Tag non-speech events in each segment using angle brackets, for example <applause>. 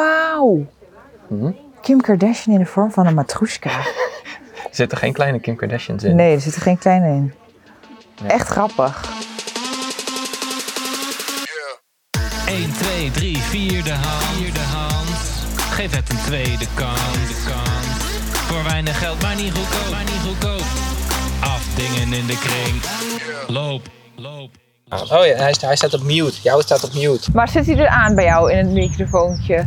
Wauw! Mhm. Kim Kardashian in de vorm van een matroeska. Er zitten geen kleine Kim Kardashians in. Nee, er zit er geen kleine in. Ja. Echt grappig. 1, 2, 3, 4 de hand. Vierde hand. Geef het een tweede kans. De kans. Voor weinig geld, maar niet goedkoop. Maar niet goedkoop. Afdingen in de kring. Loop, loop. Oh ja, hij, hij staat op mute. Jouw staat op mute. Maar zit hij er aan bij jou in het microfoontje?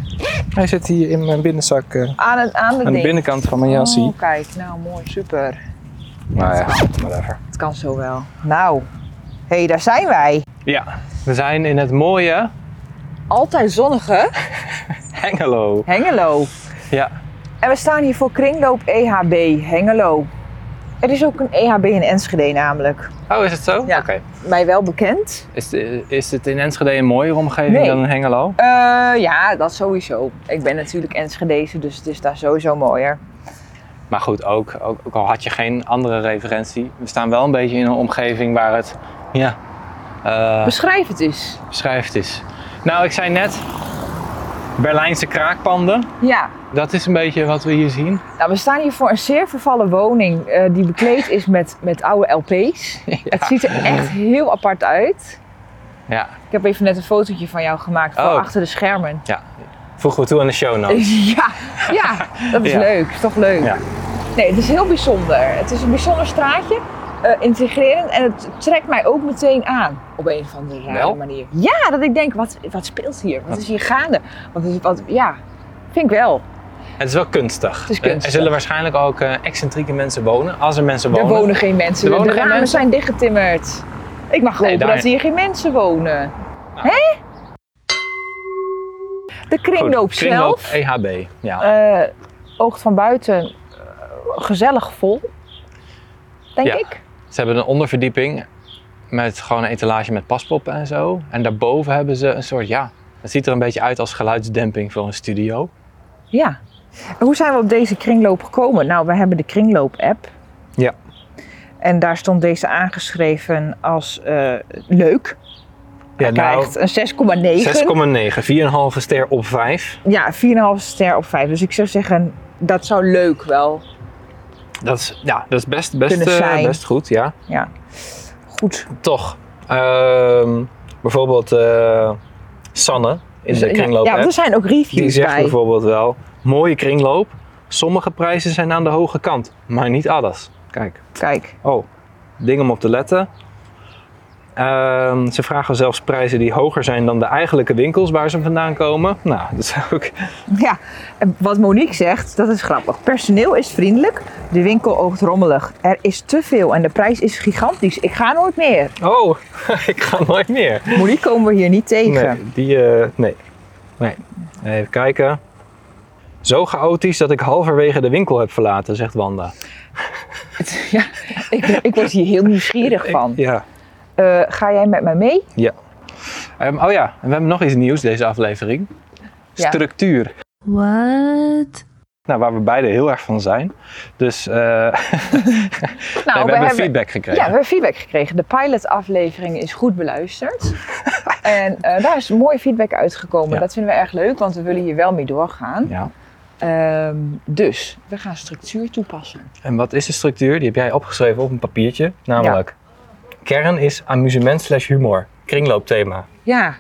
Hij zit hier in mijn binnenzak eh, Aan, het, aan, de aan de ding. binnenkant van mijn jasje. Oh, kijk, nou mooi, super. Maar Nou ja, whatever. Het kan zo wel. Nou, hé, hey, daar zijn wij. Ja, we zijn in het mooie Altijd zonnige Hengelo. Hengelo. Ja, En we staan hier voor Kringloop EHB Hengelo. Er is ook een EHB in Enschede namelijk. oh is het zo? Ja. Oké. Mij wel bekend. Is, eh, is het in Enschede een mooiere omgeving Nee. dan in Hengelo? Eh, ja, dat sowieso. Ik ben natuurlijk Enschedeze, dus het is daar sowieso mooier. Maar goed, ook, ook, ook al had je geen andere referentie, we staan wel een beetje in een omgeving waar het ja, eh, Beschrijf het eens. beschrijft is. Nou, ik zei net, Berlijnse kraakpanden, Ja, dat is een beetje wat we hier zien. nou, we staan hier voor een zeer vervallen woning eh, die bekleed is met, met oude LP's. Het ziet er echt heel apart uit. Ja, Ik heb even net een fotootje van jou gemaakt voor Oh. achter de schermen. ja. voegen we toe aan de show notes. <laughs> Ja, ja, dat is Oh. Ja. leuk. Is toch leuk? Ja. Nee, het is heel bijzonder. Het is een bijzonder straatje. eh, integrerend en het trekt mij ook meteen aan op een of andere rare Wel? manier. Ja, dat ik denk, wat, wat speelt hier? Wat is hier gaande? Wat is, wat, ja, vind ik wel. Het is wel kunstig. Eh, is kunstig. Er zullen waarschijnlijk ook eh, excentrieke mensen wonen, als er mensen Er wonen. wonen geen mensen. Er wonen de geen ramen mensen? zijn dichtgetimmerd. Ik mag Nee, hopen daar- Nou. dat hier geen mensen wonen. Hè? De kringloop Goed, kringloop zelf. EHB, ja. eh, oogt van buiten eh, gezellig vol, denk Ja. ik. Ze hebben een onderverdieping met gewoon een etalage met paspoppen en zo. En daarboven hebben ze een soort, ja, het ziet er een beetje uit als geluidsdemping voor een studio. Ja. En hoe zijn we op deze kringloop gekomen? Nou, we hebben de kringloop-app. Ja. En daar stond deze aangeschreven als eh, leuk. Ja, Hij Nou, krijgt een 6,9. 4,5 ster op 5. 6,9. Ja, 4,5 ster op 5. Dus ik zou zeggen, dat zou leuk wel. Dat is, ja, dat is best, best, Kunnen eh, zijn. best goed, ja. Ja. Goed. Toch. ehm, bijvoorbeeld eh, Sanne in de kringloop Ja, want er zijn ook Die reviews zegt bij. bijvoorbeeld wel, mooie kringloop. Sommige prijzen zijn aan de hoge kant, maar niet alles. Kijk. Kijk. Oh, ding om op te letten. Ehm, ze vragen zelfs prijzen die hoger zijn dan de eigenlijke winkels waar ze vandaan komen. Nou, dat is ook... <laughs> Ja, en wat Monique zegt, dat is grappig. Personeel is vriendelijk, de winkel oogt rommelig. Er is te veel en de prijs is gigantisch. Ik ga nooit meer. Oh, <laughs> ik ga nooit meer. Monique komen we hier niet tegen. Nee, die... eh, nee. Nee. Even kijken. Zo chaotisch dat ik halverwege de winkel heb verlaten, zegt Wanda. Het- <laughs> ja, ik, ik word hier heel nieuwsgierig van. Ja. Eh, ga jij met mij mee? Ehm, oh ja, en we hebben nog iets nieuws deze aflevering. Ja. Structuur. What? Nou, waar we beide heel erg van zijn. Dus eh, <laughs> Nou, nee, we, we hebben hebben- feedback ja, gekregen. we hebben feedback gekregen. De pilotaflevering is goed <laughs> beluisterd. en eh, daar is mooi feedback uitgekomen. Ja. Dat vinden we erg leuk, want we willen hier wel mee doorgaan. ja. Ehm, dus, we gaan structuur toepassen. En wat is de structuur? Die heb jij opgeschreven op een papiertje. Namelijk, kern is amusement slash humor. Kringloopthema. Ja,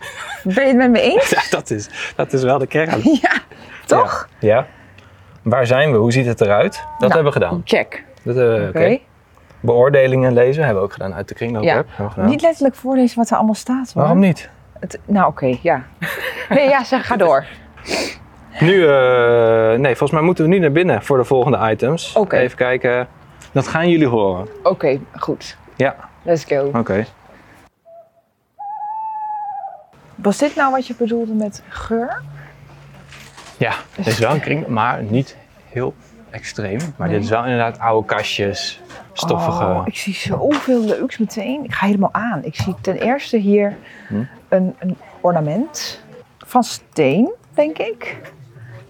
ben je het met me eens? <laughs> Ja, dat is, dat is wel de kern. <laughs> Ja, toch? Ja. Waar zijn we? Hoe ziet het eruit? Dat hebben we gedaan. Oh, Check. Dat hebben we- Nou. Oké. oké. Beoordelingen lezen hebben we ook gedaan uit de kringloop Ja. app. Hebben we gedaan. Niet letterlijk voorlezen wat er allemaal staat. Hoor. Nou. Waarom niet? Het- nou, oké, <laughs> ja. Nee, ja, zeg, ga door. Nu, eh, nee, volgens mij moeten we nu naar binnen voor de volgende items. Oké. Even kijken. Dat gaan jullie horen. Oké, goed. Ja, Let's go. oké. Was dit nou wat je bedoelde met geur? Ja, het is wel een kring, maar niet heel extreem. Maar dit is wel inderdaad oude kastjes, stoffige... Oh, ik zie zoveel leuks meteen. Ik ga helemaal aan. Ik zie ten eerste hier Hm? een, een ornament van steen, denk ik.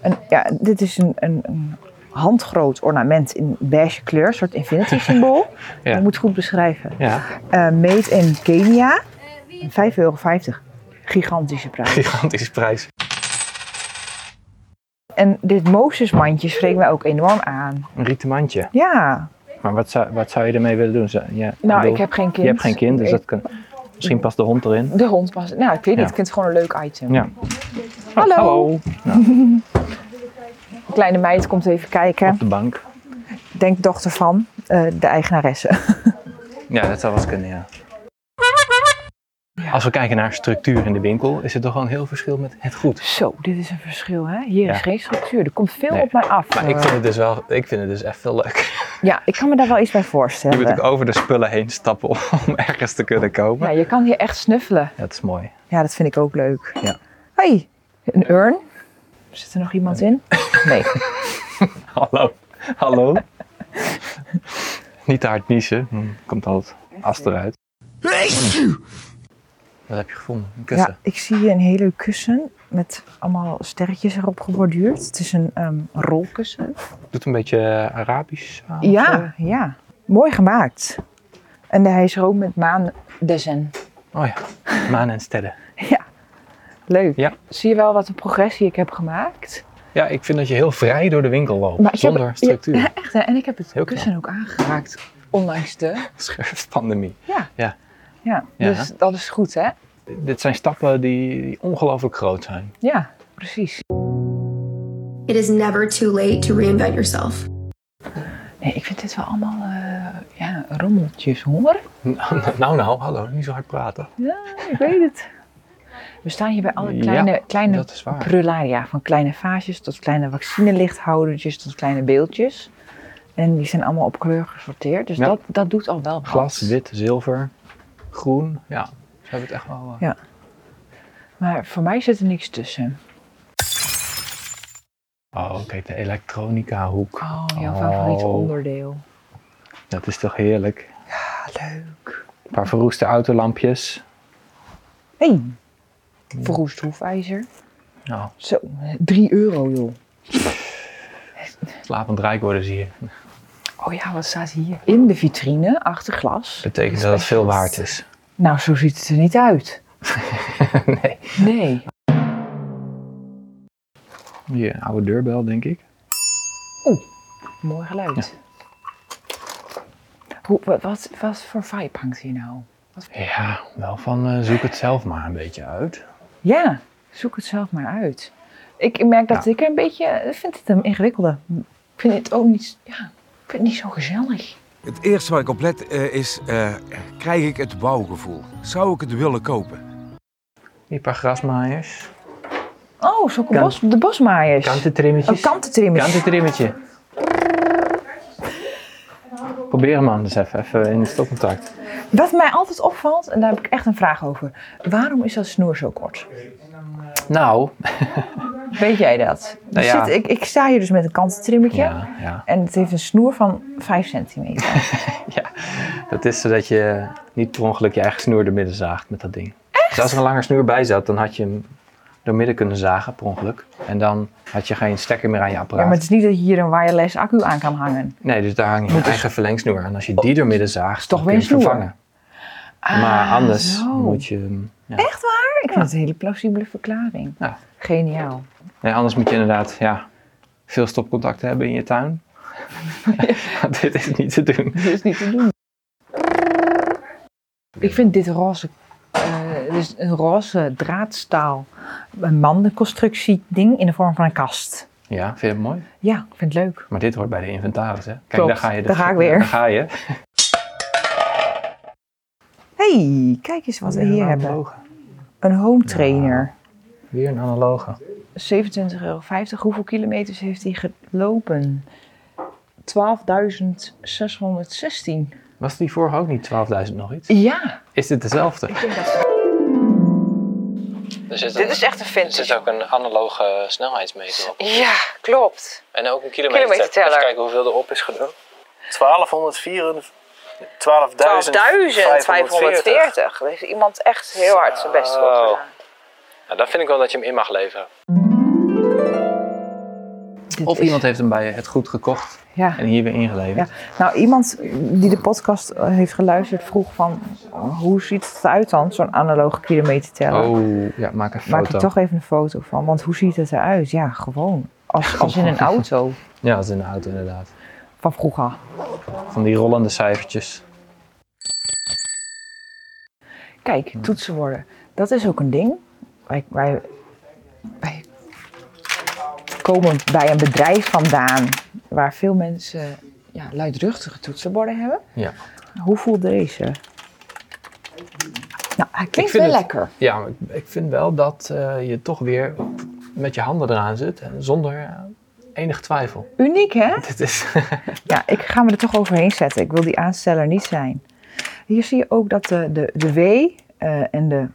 Een, ja, dit is een, een, een handgroot ornament in beige kleur, een soort infinity symbool. <laughs> Ja. Ik moet het goed beschrijven. Ja, Eh, made in Kenia. 5,50 euro. Gigantische prijs. gigantische prijs. En dit Mozesmandje spreekt mij ook enorm aan. Een rieten mandje. Ja, Maar wat zou, wat zou je ermee willen doen? Zou- Ja, nou, bedoel, ik heb geen kind. Je hebt geen kind, dus Ik- dat kan, misschien past de hond erin. De hond past. Nou, ik weet Ja. niet. Ik vind het gewoon een leuk item. Ja. Hallo. Hallo. De kleine meid komt even kijken. Op de bank. Denk dochter van eh, de eigenaresse. <laughs> Ja, dat zou wel eens kunnen, ja. Als we kijken naar structuur in de winkel, is er toch wel een heel verschil met het goed. Zo, dit is een verschil, hè? Hier Ja. is geen structuur. Er komt veel Nee. op mij af. eh. Maar ik vind het dus wel, ik vind het dus echt veel leuk. Ja, ik kan me daar wel iets bij Je voorstellen. moet ook over de spullen heen stappen om ergens te kunnen komen. Ja, je kan hier echt snuffelen. Dat is mooi. Ja, dat vind ik ook leuk. Ja. Hoi, een urn. Zit er nog iemand in? Nee. Hallo. Hallo. Niet te hard niezen, dan komt al het as eruit. Wat heb je gevonden? Een kussen. Ja, ik zie hier een heel leuk kussen met allemaal sterretjes erop geborduurd. Het is een ehm, rolkussen. Doet een beetje eh, Arabisch aan. of zo. Ja, ja. Mooi gemaakt. En hij is er ook met maandessen. Oh ja, maan en sterren. Leuk. Ja. Zie je wel wat een progressie ik heb gemaakt? Ja, ik vind dat je heel vrij door de winkel loopt, Maar ik heb- zonder structuur. <laughs> Ja, <laughs> echt, hè? En ik heb het Heel knap. kussen ook aangeraakt. Ondanks de. Scherp pandemie. Ja. Ja. Ja, Ja. dus dat is goed, hè? Dit zijn stappen die, die ongelooflijk groot zijn. Ja, precies. It is never too late to reinvent yourself. Nee, ik vind dit wel allemaal eh, ja, rommeltjes hoor. <laughs> Nou, nou, nou, hallo, niet zo hard praten. Ja, ik weet het. We staan hier bij alle kleine, Ja, kleine dat is waar. prularia. Van kleine vaasjes tot kleine vaccinelichthoudertjes tot kleine beeldjes. En die zijn allemaal op kleur gesorteerd. Dus Ja. dat, dat doet al wel wat. Glas, wit, zilver, groen. Ja, ze hebben het echt wel... eh, Ja. Maar voor mij zit er niks tussen. Oh, kijk, de elektronica hoek. Oh, jouw favoriete Oh, onderdeel. Dat is toch heerlijk. Ah, leuk. Een paar verroeste autolampjes. Hé, hey. verroest hoefijzer. Nou, Zo, 3 euro joh. slapend rijk worden zie je. Dat Oh ja, wat staat hier? In de vitrine, achter glas. betekent dat het veel waard is. Nou, zo ziet het er niet uit. <laughs> nee. Nee. Hier, een oude deurbel, denk ik. Mooi geluid. Hoe, wa- wat, wat voor vibe hangt hier nou? Ja, wel van eh, zoek het zelf maar een beetje uit. Ja, zoek het zelf maar uit. Ik merk dat ik er een beetje... Ik vind het een ingewikkelde. Ik vind het ook niet... Ja, ik vind het niet zo gezellig. Het eerste waar ik op let eh, is, eh, krijg ik het bouwgevoel? Zou ik het willen kopen? Hier een paar grasmaaiers. Oh, zo'n Kant- bos, de bosmaaiers. Kantentrimmetjes. Oh, kantentrimmers. Kantentrimmetje. Probeer hem anders even, even in het stopcontact. Wat mij altijd opvalt, en daar heb ik echt een vraag over. Waarom is dat snoer zo kort? Nou, Weet jij dat? Nou Er ja. zit, ik, ik sta hier dus met een kantentrimmertje. ja, ja. En het heeft een snoer van 5 centimeter. dat is zodat je niet per ongeluk je eigen snoer doormidden zaagt met dat ding. Dus als er een langer snoer bij zat, dan had je hem doormidden kunnen zagen per ongeluk. En dan had je geen stekker meer aan je Ja, apparaat. maar het is niet dat je hier een wireless accu aan kan hangen. Nee, dus daar hang je je eigen verlengsnoer aan. Als je die doormidden zaagt, toch dan kun je weer hem snoer? Ah, vervangen. maar anders zo. moet je hem... ja. Echt waar? Ik vind het een hele plausibele verklaring. Ja. Geniaal. Nee, anders moet je inderdaad ja, veel stopcontacten hebben in <laughs> je tuin. Want Dit is niet te doen. Dit is niet te doen. Ik vind dit roze, eh, dit is een roze draadstaal een mandenconstructie ding in de vorm van een kast. Ja, vind je het mooi? Ja, ik vind het leuk. Maar dit hoort bij de inventaris, hè? Kijk, Klopt, daar ga je. daar ga ik ja, weer. Daar ga je. hey, kijk eens wat we hier hebben. analoge. Een home trainer. Weer een analoge. 27,50 euro. Hoeveel kilometers heeft hij gelopen? 12.616. Was die vorige ook niet 12.000 nog iets? Ja. Is dit dezelfde? Dit is echt een Er vintage. zit ook een analoge snelheidsmeter op. Ja, klopt. En ook een Kilometerteller. Even kijken hoeveel erop is gedaan. 1240. 12.540. 12.540. Daar heeft iemand echt heel hard zijn best voor Zo. gedaan. Nou, daar vind ik wel dat je hem in mag leveren. Of Dit is- iemand heeft hem bij het goed gekocht Ja. en hier weer ja. ingeleverd. Nou, iemand die de podcast eh, heeft geluisterd vroeg van... oh, hoe ziet het eruit dan, zo'n analoge kilometerteller? Oh, ja, maak een foto. Maak ik toch even een foto van, want hoe ziet het eruit? Ja, gewoon Als, als in een auto Ja, dat is in de auto inderdaad. van vroeger. Van die rollende cijfertjes. Kijk, Hmm. toetsen worden. Dat is ook een ding. Wij, wij, wij komen bij een bedrijf vandaan waar veel mensen ja, luidruchtige toetsenborden hebben. Ja. Hoe voelt deze? Nou, hij klinkt vind wel het- lekker. Ja, maar ik- ik vind wel dat eh, je toch weer op- met je handen eraan zit en zonder eh, enige twijfel. Uniek, hè? Dit is <laughs> Ja, ik ga me er toch overheen zetten. Ik wil die aansteller niet zijn. Hier zie je ook dat de, de, de W eh, en de...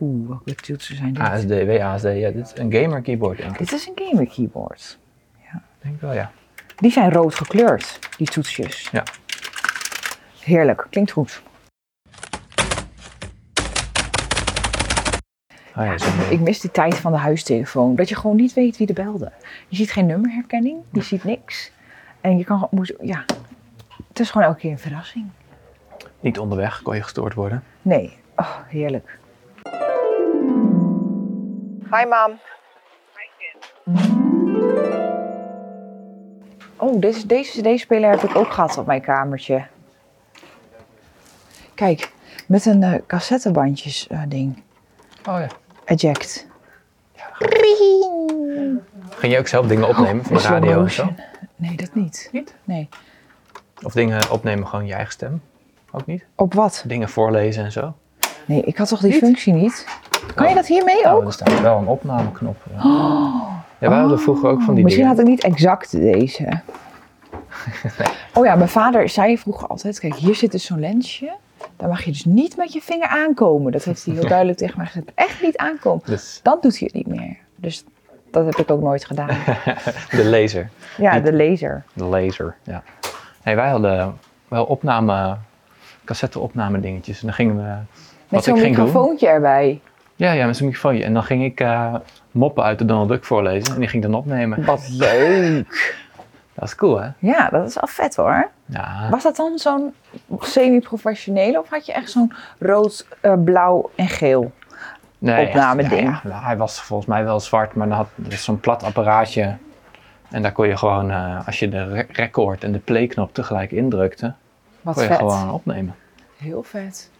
Oeh, welke toetsen zijn dit? ASD, WASD. Ja, dit is een gamer keyboard denk ik. Dit is een gamer keyboard. Ik Denk wel, ja. Die zijn rood gekleurd, die toetsjes. Ja. Heerlijk, klinkt goed. Ah, ja, zo'n ding. Ik mis die tijd van de huistelefoon. Dat je gewoon niet weet wie er belde. Je ziet geen nummerherkenning, je ziet niks. En je kan gewoon... moet- Ja, het is gewoon elke keer een verrassing. Niet onderweg kon je gestoord worden. Nee, oh, heerlijk. Hi, mam. Oh, deze, deze CD-speler heb ik ook gehad op mijn kamertje. Kijk, met een eh cassettebandjes-ding. Oh ja. Eject. Ging je ook zelf dingen opnemen van de Slow radio en motion. zo? Nee, dat niet. Niet? Nee. Of dingen opnemen gewoon je eigen stem? Ook niet? Op wat? Dingen voorlezen en zo? Nee, ik had toch die functie niet? Kan je dat hiermee ook? Oh, er staat wel een opnameknop. Ja, <gasps> Oh, ja we hadden vroeger ook van die Misschien dingen. had ik niet exact <laughs> deze. oh ja, mijn vader zei vroeger altijd: kijk, hier zit dus zo'n lensje. Daar mag je dus niet met je vinger aankomen. Dat heeft hij <laughs> heel duidelijk tegen mij gezegd. Echt niet aankomen. Dus Dan doet hij het niet meer. Dus dat heb ik ook nooit gedaan. <laughs> de laser. Ja, de laser. De laser, ja. Nee, wij hadden wel opname, cassette-opname dingetjes. En dan gingen we... Met zo'n microfoontje erbij. doen... Ja, ja, met zo'n microfoon. En dan ging ik eh, moppen uit de Donald Duck voorlezen. En die ging ik dan opnemen. Wat leuk. Dat is cool, hè? Ja, dat is al vet hoor. Ja. Was dat dan zo'n semi-professionele of had je echt zo'n rood, eh, blauw en geel? Nee, opname echt, ja, ding. ja. Hij was volgens mij wel zwart, maar dan had er is zo'n plat apparaatje. En daar kon je gewoon, eh, als je de re- record en de playknop tegelijk indrukte, Wat kon je vet. Oh gewoon opnemen. Heel vet.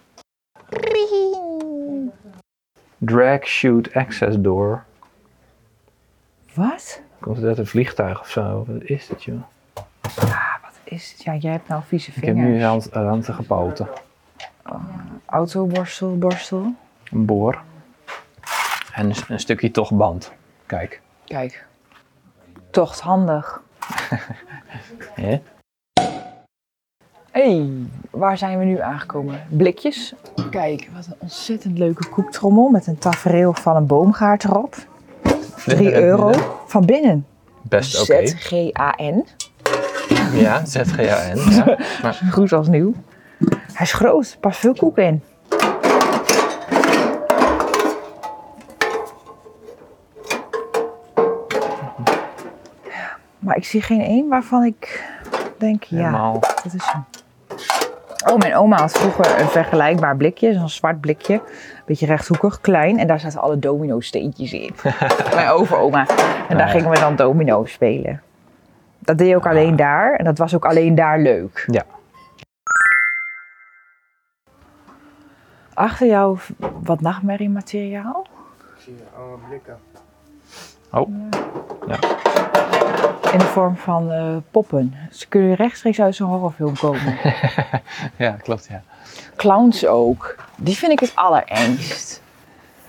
Drag, shoot, access door. Wat? Komt het uit een vliegtuig of zo? Wat is dit, joh? Wat is het? Ja, jij hebt nou vieze Ik heb nu vingers. hand- rantige poten. Autoborstel, borstel. een boor en een, een stukje toch band. Kijk. Kijk. Toch handig. Hè? Hé, hey, waar zijn we nu aangekomen? Blikjes. Kijk, wat een ontzettend leuke koektrommel met een tafereel van een boomgaard erop. <laughs> 3 euro van binnen. Best oké. Z-G-A-N. Ja, ZGAN. <laughs> Ja. Maar Goed als nieuw. Hij is groot, past veel koek in. Maar ik zie geen één waarvan ik denk, ja, helemaal. dat is hem. Oh, mijn oma had vroeger een vergelijkbaar blikje, zo'n zwart blikje. Beetje rechthoekig, klein. En daar zaten alle domino-steentjes in. mijn overoma. En daar Ah. gingen we dan domino spelen. Dat deed je ook alleen daar. En dat was ook alleen daar leuk. Ja. Achter jou v- wat nachtmerriemateriaal? Oh, In de vorm van eh, poppen. Ze kunnen rechtstreeks uit zo'n horrorfilm komen. <laughs> ja, klopt ja. Clowns ook. Die vind ik het allerengst.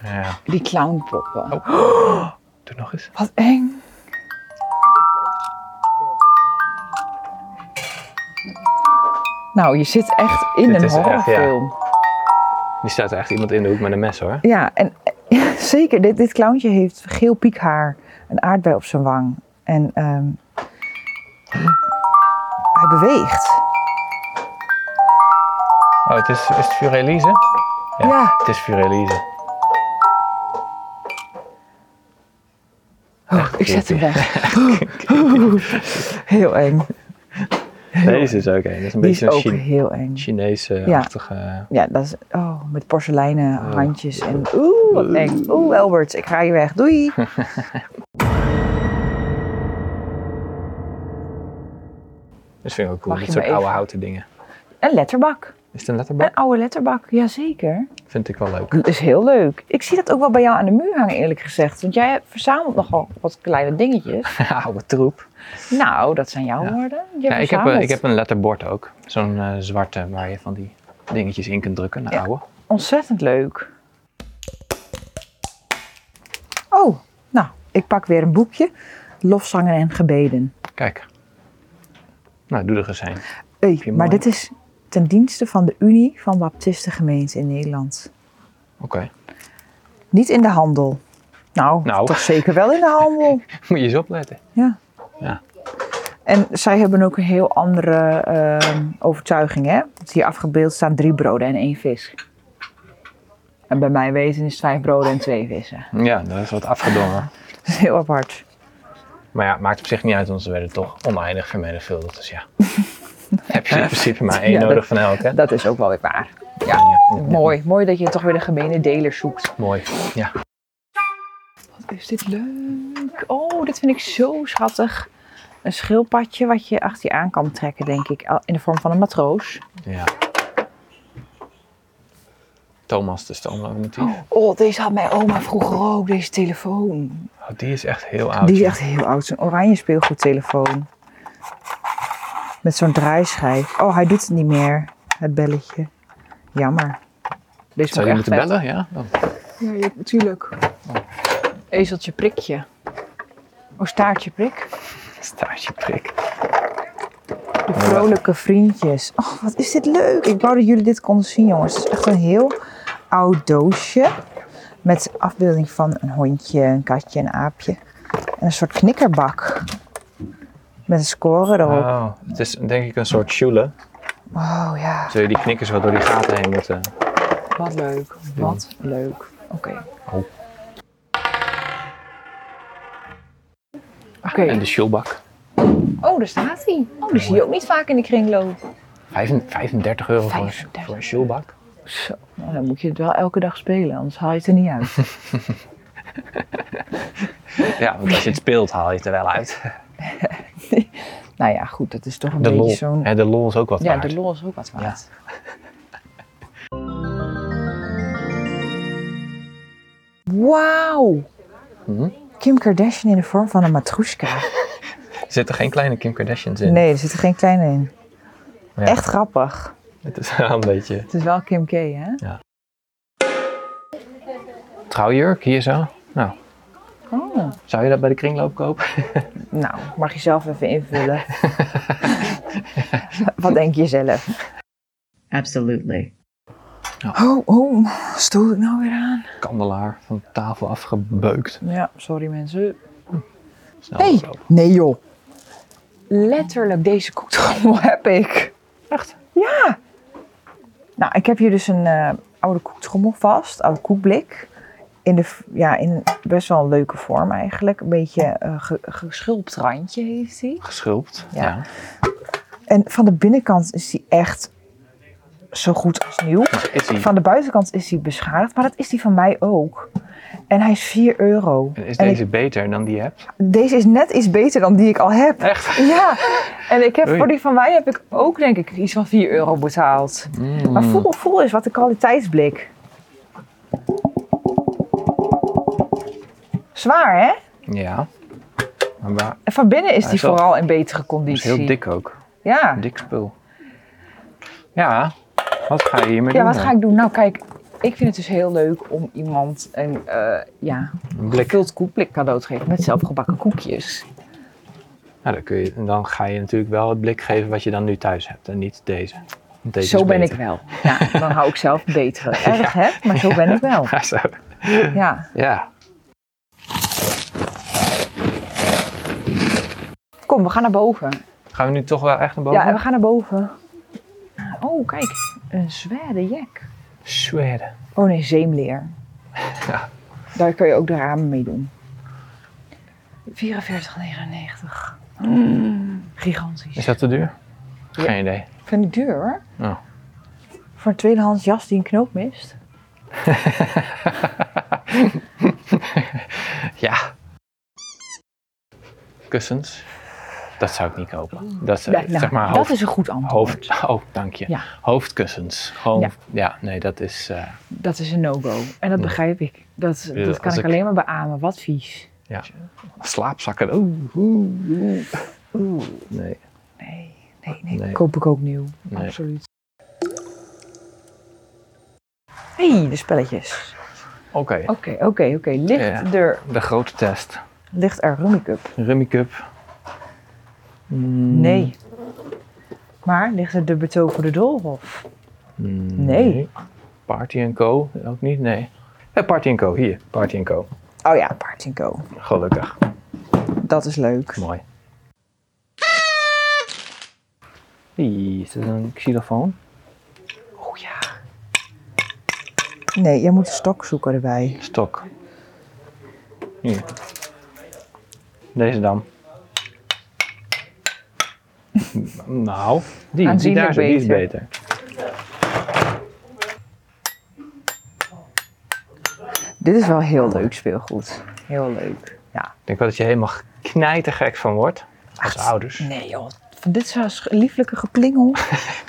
ja. Die clownpoppen. Doe nog eens. Wat eng. Nou, je zit echt in Dit een is echt, ja. horrorfilm. Nu staat er echt iemand in de hoek met een mes hoor. Ja, en eh, <laughs> zeker. Dit, dit clowntje heeft geel piekhaar, een aardbei op zijn wang. En ehm, hij beweegt. Oh, het is, is het Furelise? Ja. Ja. Het is Furelise. Oh, ik zet hem weg. <laughs> heel eng. Deze is ook een. Dat is een Die is beetje een ook Chine- heel eng. Chinese-achtige. Ja, dat is. Oh, met porseleinen Oh. handjes en. <laughs> Oeh, wat eng. Oeh, Albert, ik ga je weg. Doei. Dus vind ik ook cool. Mag Dat je soort me oude even- houten dingen. Een letterbak. Is het een letterbak? Een oude letterbak, jazeker. Vind ik wel leuk. <laughs> Dat is heel leuk. Ik zie dat ook wel bij jou aan de muur hangen, eerlijk gezegd. Want jij verzamelt nogal wat kleine <laughs> dingetjes. oude troep. Nou, dat zijn jouw Ja. woorden. Je Ja, ik, heb, eh, verzamelt. ik heb een letterbord ook. Zo'n eh, zwarte waar je van die dingetjes in kunt drukken. Een Ja. oude. Ontzettend leuk. Oh, nou, ik pak weer een boekje. Lofzangen en gebeden. Kijk. Nou, doe er eens een. Hey, je maar mooi. dit is ten dienste van de Unie van Baptistengemeenten in Nederland. Oké. Niet in de handel. Nou, Nou. toch zeker wel in de <laughs> handel. Moet je eens opletten. Ja. Ja. En zij hebben ook een heel andere ehm, overtuiging, hè? Want hier afgebeeld staan drie broden en één vis. En bij mijn weten is het vijf broden en twee vissen. <laughs> Ja, dat is wat afgedongen. Dat is heel apart. Maar ja, maakt op zich niet uit, want ze werden toch oneindig vermenigvuldigd. <laughs> Dus ja. heb je in principe maar één Ja, dat- nodig van elk, hè? Dat is ook wel weer waar. Ja. Mooi, mooi dat je toch weer de gemene deler zoekt. Mooi. Ja. Wat is dit leuk? Oh, dit vind ik zo schattig. Een schildpadje wat je achter je aan kan trekken, denk ik. al- In de vorm van een matroos. ja. Thomas de stoomlocomotief. Oh, deze had mijn oma vroeger ook, deze telefoon. Oh, die is echt heel oud. Die is joh. echt heel oud, zo'n oranje speelgoedtelefoon. Met zo'n draaischijf. Oh, hij doet het niet meer, het belletje. Jammer. Deze Zou je moet echt moeten weg. bellen? Ja. Dan. Ja, ja, natuurlijk. Ezeltje prikje. Oh, staartje prik. Staartje prik. De vrolijke vriendjes. Oh, wat is dit leuk. Ik wou dat jullie dit konden zien, jongens. Het is echt een heel oud doosje. Met afbeelding van een hondje, een katje, een aapje. En een soort knikkerbak. Met een score erop. Oh, het is denk ik een soort joule. Ah. Oh ja, Zul je die knikkers wat door die gaten heen moeten. wat leuk. Wat leuk. Oké. Oh. Oké. En de joelbak. Oh, daar staat hij. Oh, die zie je ook niet vaak in de kringloop. 35 euro voor, een- 35. voor een joelbak. Zo, nou, dan moet je het wel elke dag spelen, anders haal je het er niet <laughs> uit. Ja, want als je het speelt haal je het er wel uit. nou ja, goed, dat is toch een De beetje lol. zo'n... Hè, de lol is ook wat Ja, waard. de lol is ook wat waard. <laughs> Wauw! Mhm. Kim Kardashian in de vorm van een matroeska. Zitten geen kleine Kim Kardashians in. Nee, er zit er geen kleine in. Ja. Echt grappig. Het is wel een beetje... Het is wel Kim K, hè? Trouwjurk, hier zo. Nou, Oh. zou je dat bij de kringloop kopen? <laughs> Nou, mag je zelf even <laughs> invullen. Wat denk je zelf? Absolutely. Oh, oh, stoel ik nou weer aan? Kandelaar van tafel afgebeukt. Ja, sorry mensen. Snel Hey, aflopen. nee joh. Letterlijk deze <laughs> koektrommel heb ik. Echt? Ja. Nou, ik heb hier dus een eh, oude koektrommel vast, oude koekblik. In, de, v- ja, in best wel een leuke vorm eigenlijk. Een beetje eh, ge- geschulpt randje heeft hij. Geschulpt. Ja. Ja. En van de binnenkant is die echt zo goed als nieuw. Is hij? Van de buitenkant is hij beschadigd, maar dat is die van mij ook. En hij is 4 euro. En Is En ik- deze beter dan die je hebt? deze is net iets beter dan die ik al heb. Echt? Ja, en ik heb, Oei. voor die van mij heb ik ook denk ik iets van 4 euro betaald. Mm. Maar voel, voel eens wat de kwaliteitsblik. Zwaar hè? Ja. Maar waar? En van binnen is Hij die is wel- vooral in betere Het is conditie. heel dik ook. Ja. Dik spul. Ja. Wat ga je hiermee ja, doen? wat ga ik doen? Nou kijk, ik vind het dus heel leuk om iemand een eh ja, dan? Een blik. gevuld koekblik cadeau te geven met zelfgebakken koekjes. Nou, dan, kun je, en dan ga je natuurlijk wel het blik geven wat je dan nu thuis hebt. En niet deze. Want deze zo is ben beter. ik wel. Ja, dan hou ik zelf <laughs> beter. Erg hè? Maar zo ben ik wel. Ja, zo. Ja. Ja. Kom, we gaan naar boven. Gaan we nu toch wel echt naar boven? Ja, en we gaan naar boven. Oh, kijk, een zware jack. Zweden. Oh nee, zeemleer. Ja. Daar kun je ook de ramen mee doen. 44,99. Mm, gigantisch. Is dat te duur? Ja. Geen idee. Vind ik duur hoor. Oh. Voor een tweedehands jas die een knoop mist. Ja. Kussens. Dat zou ik niet kopen. Dat, zou- Ja, nou, zeg maar dat hoofd- is een goed antwoord. Hoofd, oh, dank je. Ja. Hoofdkussens. Gewoon, Ja. ja. nee, dat is... eh, Dat is een no-go. En dat begrijp ik. Dat, Ja, dat kan als ik ik- alleen maar beamen. Wat vies. ja. Slaapzakken. Oeh, oeh, oeh. Nee, Nee. nee, nee. Nee. Koop ik ook nieuw. Nee. Absoluut. hey, de spelletjes. Oké, Oké, oké, oké. Ligt, Ja. er, de grote test. ligt er Rummy Cup? Rummy Cup. Mm, Nee. Maar ligt er de betoverde doolhof? mm, Nee. Party Co. Ook niet, nee. Eh, Party Co, hier. Party Co. Oh ja, Partinko. Gelukkig. Dat is leuk. Mooi. Hey, is dat een xylofoon? Oh ja. Nee, jij moet een stok zoeken erbij. Stok. Hier. Deze dan. <laughs> Nou, die, die Aanzienlijk daar zo, die is beter. beter. Dit is wel heel leuk speelgoed. Heel leuk. Ja. Ik denk wel dat je helemaal knijtergek van wordt. Als ouders. Nee joh, van dit soort sch- lieflijke geplingel.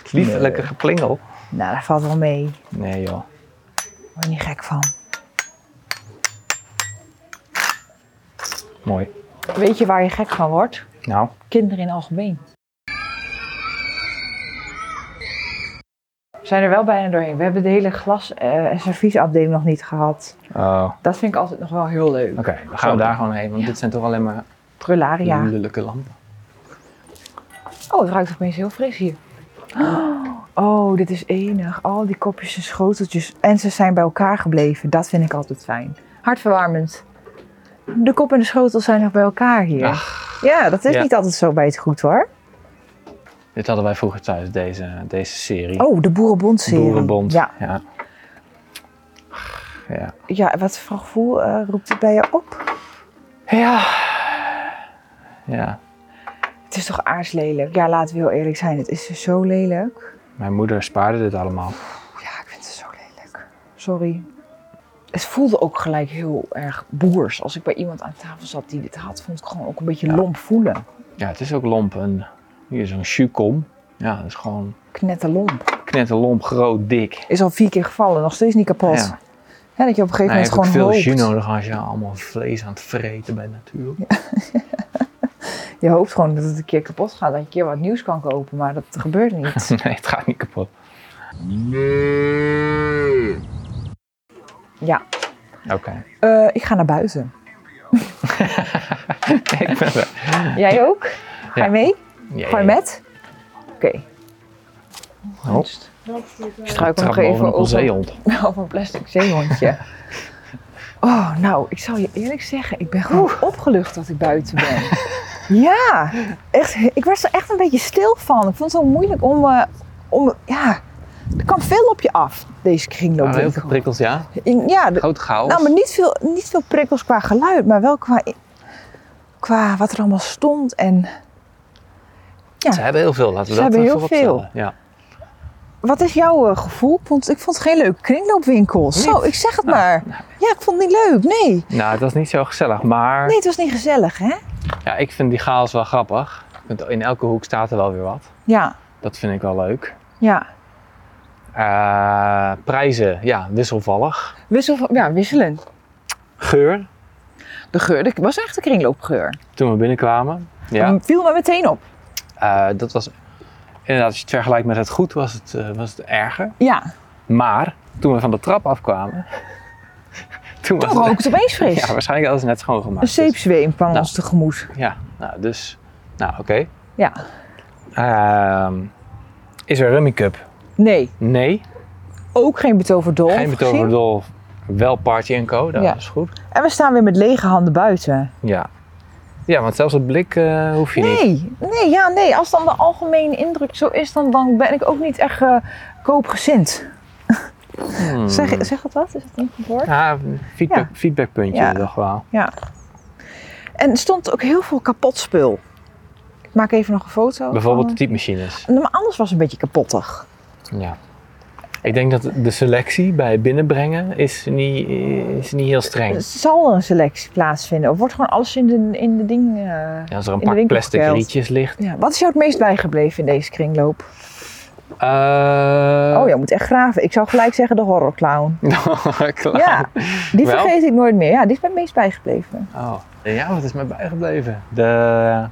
Het liefelijke geplingel. nou, daar valt wel mee. Daar Nee joh. word je niet gek van. Mooi. Weet je waar je gek van wordt? Nou, Kinderen in het algemeen. We zijn er wel bijna doorheen. We hebben de hele glas- eh, en serviesafdeling nog niet gehad. oh, Dat vind ik altijd nog wel heel leuk. oké. dan gaan we daar gewoon heen, want dit zijn toch alleen maar Trullaria. lullijke lampen. Oh, het ruikt opeens heel fris hier. <gasps> Oh, dit is enig. Al die kopjes en schoteltjes. En ze zijn bij elkaar gebleven. Dat vind ik altijd fijn. Hartverwarmend. De kop en de schotel zijn nog bij elkaar hier. ja, dat is ja. niet altijd zo bij het goed hoor. Dit hadden wij vroeger thuis, deze, deze serie. Oh, de Boerenbond-serie. Boerenbond. Ja, ja. Ja. ja, wat voor gevoel eh, roept het bij je op? Ja. Ja. Het is toch aarslelijk? Ja, laten we heel eerlijk zijn. Het is zo lelijk. Mijn moeder spaarde dit allemaal. Ja, ik vind het zo lelijk. Sorry. Het voelde ook gelijk heel erg boers. Als ik bij iemand aan tafel zat die dit had, vond ik gewoon ook een beetje lomp voelen. Ja, het is ook lomp. En hier is een chukom. Ja, dat is gewoon Knetterlomp. knetterlomp, groot, dik. Is al vier keer gevallen, nog steeds niet kapot. Ja. Hè, dat je op een gegeven Nou, moment je hebt ook gewoon veel hoopt. jus nodig als je allemaal vlees aan het vreten bent natuurlijk. Je hoopt gewoon dat het een keer kapot gaat, dat je een keer wat nieuws kan kopen, maar dat gebeurt <laughs> niet. Nee, het gaat niet kapot. ja, Oké. Eh, ik ga naar buiten. <laughs> Ik ben er. Jij ook? Ga je Ja. mee? Ja, Ga je ja. met? Oké. Hop. Ik struikel nog Trap bovenop even een over, zeehond. <laughs> over een plastic <laughs> zeehondje. Oh, nou, ik zal je eerlijk zeggen, ik ben gewoon opgelucht dat ik buiten <laughs> ben. ja, echt, ik werd er echt een beetje stil van. Ik vond het zo moeilijk om, eh, om ja, er kwam veel op je af, deze Ah, heel kringloop. veel prikkels, ja. ja, de- Groot chaos. nou, maar niet veel, niet veel prikkels qua geluid, maar wel qua, qua wat er allemaal stond en... Ze hebben heel veel, laten we Ze dat hebben even heel veel. opstellen. Ja. Wat is jouw eh, gevoel? Ik vond, ik vond het geen leuke kringloopwinkel. Zo, ik zeg het maar. Ja, ik vond het niet leuk. Nee. Nou, het was niet zo gezellig, maar Nee, het was niet gezellig, hè? ja, ik vind die chaos wel grappig. Je kunt- In elke hoek staat er wel weer wat. Ja, Dat vind ik wel leuk. ja. Eh, prijzen, ja, wisselvallig. Wissel van, ja, wisselen. Geur, De geur, dat was echt een kringloopgeur. toen we binnenkwamen. Ja, Dat viel me meteen op. eh, dat was inderdaad, als je het vergelijkt met het goed, was het, eh, was het erger. Ja, Maar toen we van de trap afkwamen, <laughs> toen toen was rook het <laughs> opeens fris. <laughs> Ja, waarschijnlijk hadden ze net schoongemaakt. een zeepzweem kwam Nou. ons tegemoet. Dus, ja, nou, dus, nou, oké. Ja. Ehm, is er Rummy Cup? Nee, Nee. ook geen betoverdol. Geen betoverdol, wel Party Co. Dat Ja. is goed. En we staan weer met lege handen buiten. Ja. Ja, want zelfs het blik eh, hoef je niet. Nee, nee, ja, nee. Als dan de algemene indruk zo is, dan, dan ben ik ook niet echt eh, koopgezind. Hmm. Zeg, zeg het dat? Is dat niet een woord? Ah, feedback, feedbackpuntje Ja. toch wel. Ja. En er stond ook heel veel kapot spul. Ik maak even nog een foto. Bijvoorbeeld de van- typemachines. Nou, Maar alles was een beetje kapottig. Ja. Ik denk dat de selectie bij binnenbrengen is niet, is niet heel streng. Er zal een selectie plaatsvinden. Of wordt gewoon alles in de, in de ding... eh, Ja, als er een in de pak winkel plastic gekelderd. rietjes ligt. Ja, wat is jou het meest bijgebleven in deze kringloop? Eh, oh, jij moet echt graven. Ik zou gelijk zeggen de <laughs> horrorclown. Klaar. Ja, die Wel? vergeet ik nooit meer. Ja, die is mij het meest bijgebleven. Oh. Ja, wat is mij bijgebleven? De...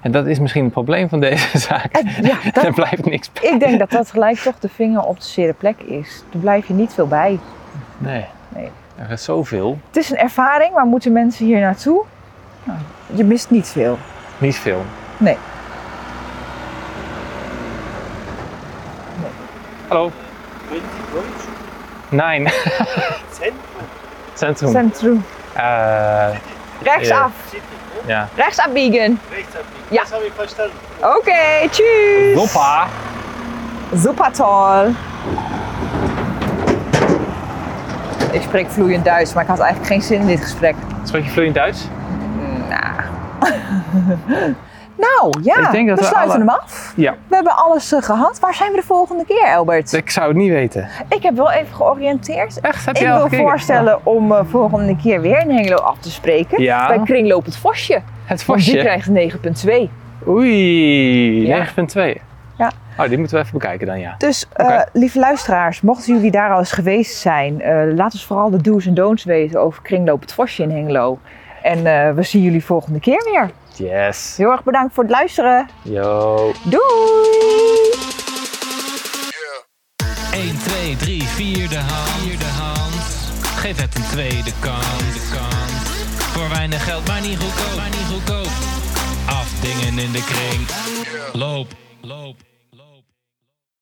En dat is misschien het probleem van deze <laughs> zaak. Eh, ja, dat- <laughs> er blijft niks bij. Ik denk dat dat gelijk toch de vinger op de zere plek is. Daar blijf je niet veel bij. Nee. Nee. Er is zoveel. Het is een ervaring, maar moeten mensen hier naartoe? Nou, je mist niet veel. Niet veel. Nee. Hallo. Nein. Centrum. Centrum. Centrum. Eh, Rechtsaf. ja. Rechts abbiegen. Ja. Dat heb ik verstaan. Oké, tjus. Doppa. Super toll. Ik spreek vloeiend Duits, maar ik had eigenlijk geen zin in dit gesprek. Spreek je vloeiend Duits? Nou, ja. Ik denk dat we we sluiten alle- hem af. Ja. We hebben alles eh, gehad. Waar zijn we de volgende keer, Albert? Ik zou het niet weten. Ik heb wel even georiënteerd. Echt? Heb Ik je al wil gekeken? voorstellen om eh, volgende keer weer in Hengelo af te spreken. Ja. Bij Kringloop het Vosje. Het Want die vosje. krijgt een 9,2. Oei, Ja. 9.2. Ja. Oh, die moeten we even bekijken dan, ja. Dus eh, Oké. lieve luisteraars, mochten jullie daar al eens geweest zijn, eh, laat ons vooral de do's en don'ts weten over Kringloop het Vosje in Hengelo. En eh, we zien jullie volgende keer weer. Yes. Heel erg bedankt voor het luisteren. Yo. Doei! 1, 2, 3, 4 de hand. Vierde hand. Geef het een tweede kans. De kans. Voor weinig geld, maar niet goedkoop. Maar niet goedkoop. Afdingen in de kring. Loop, loop.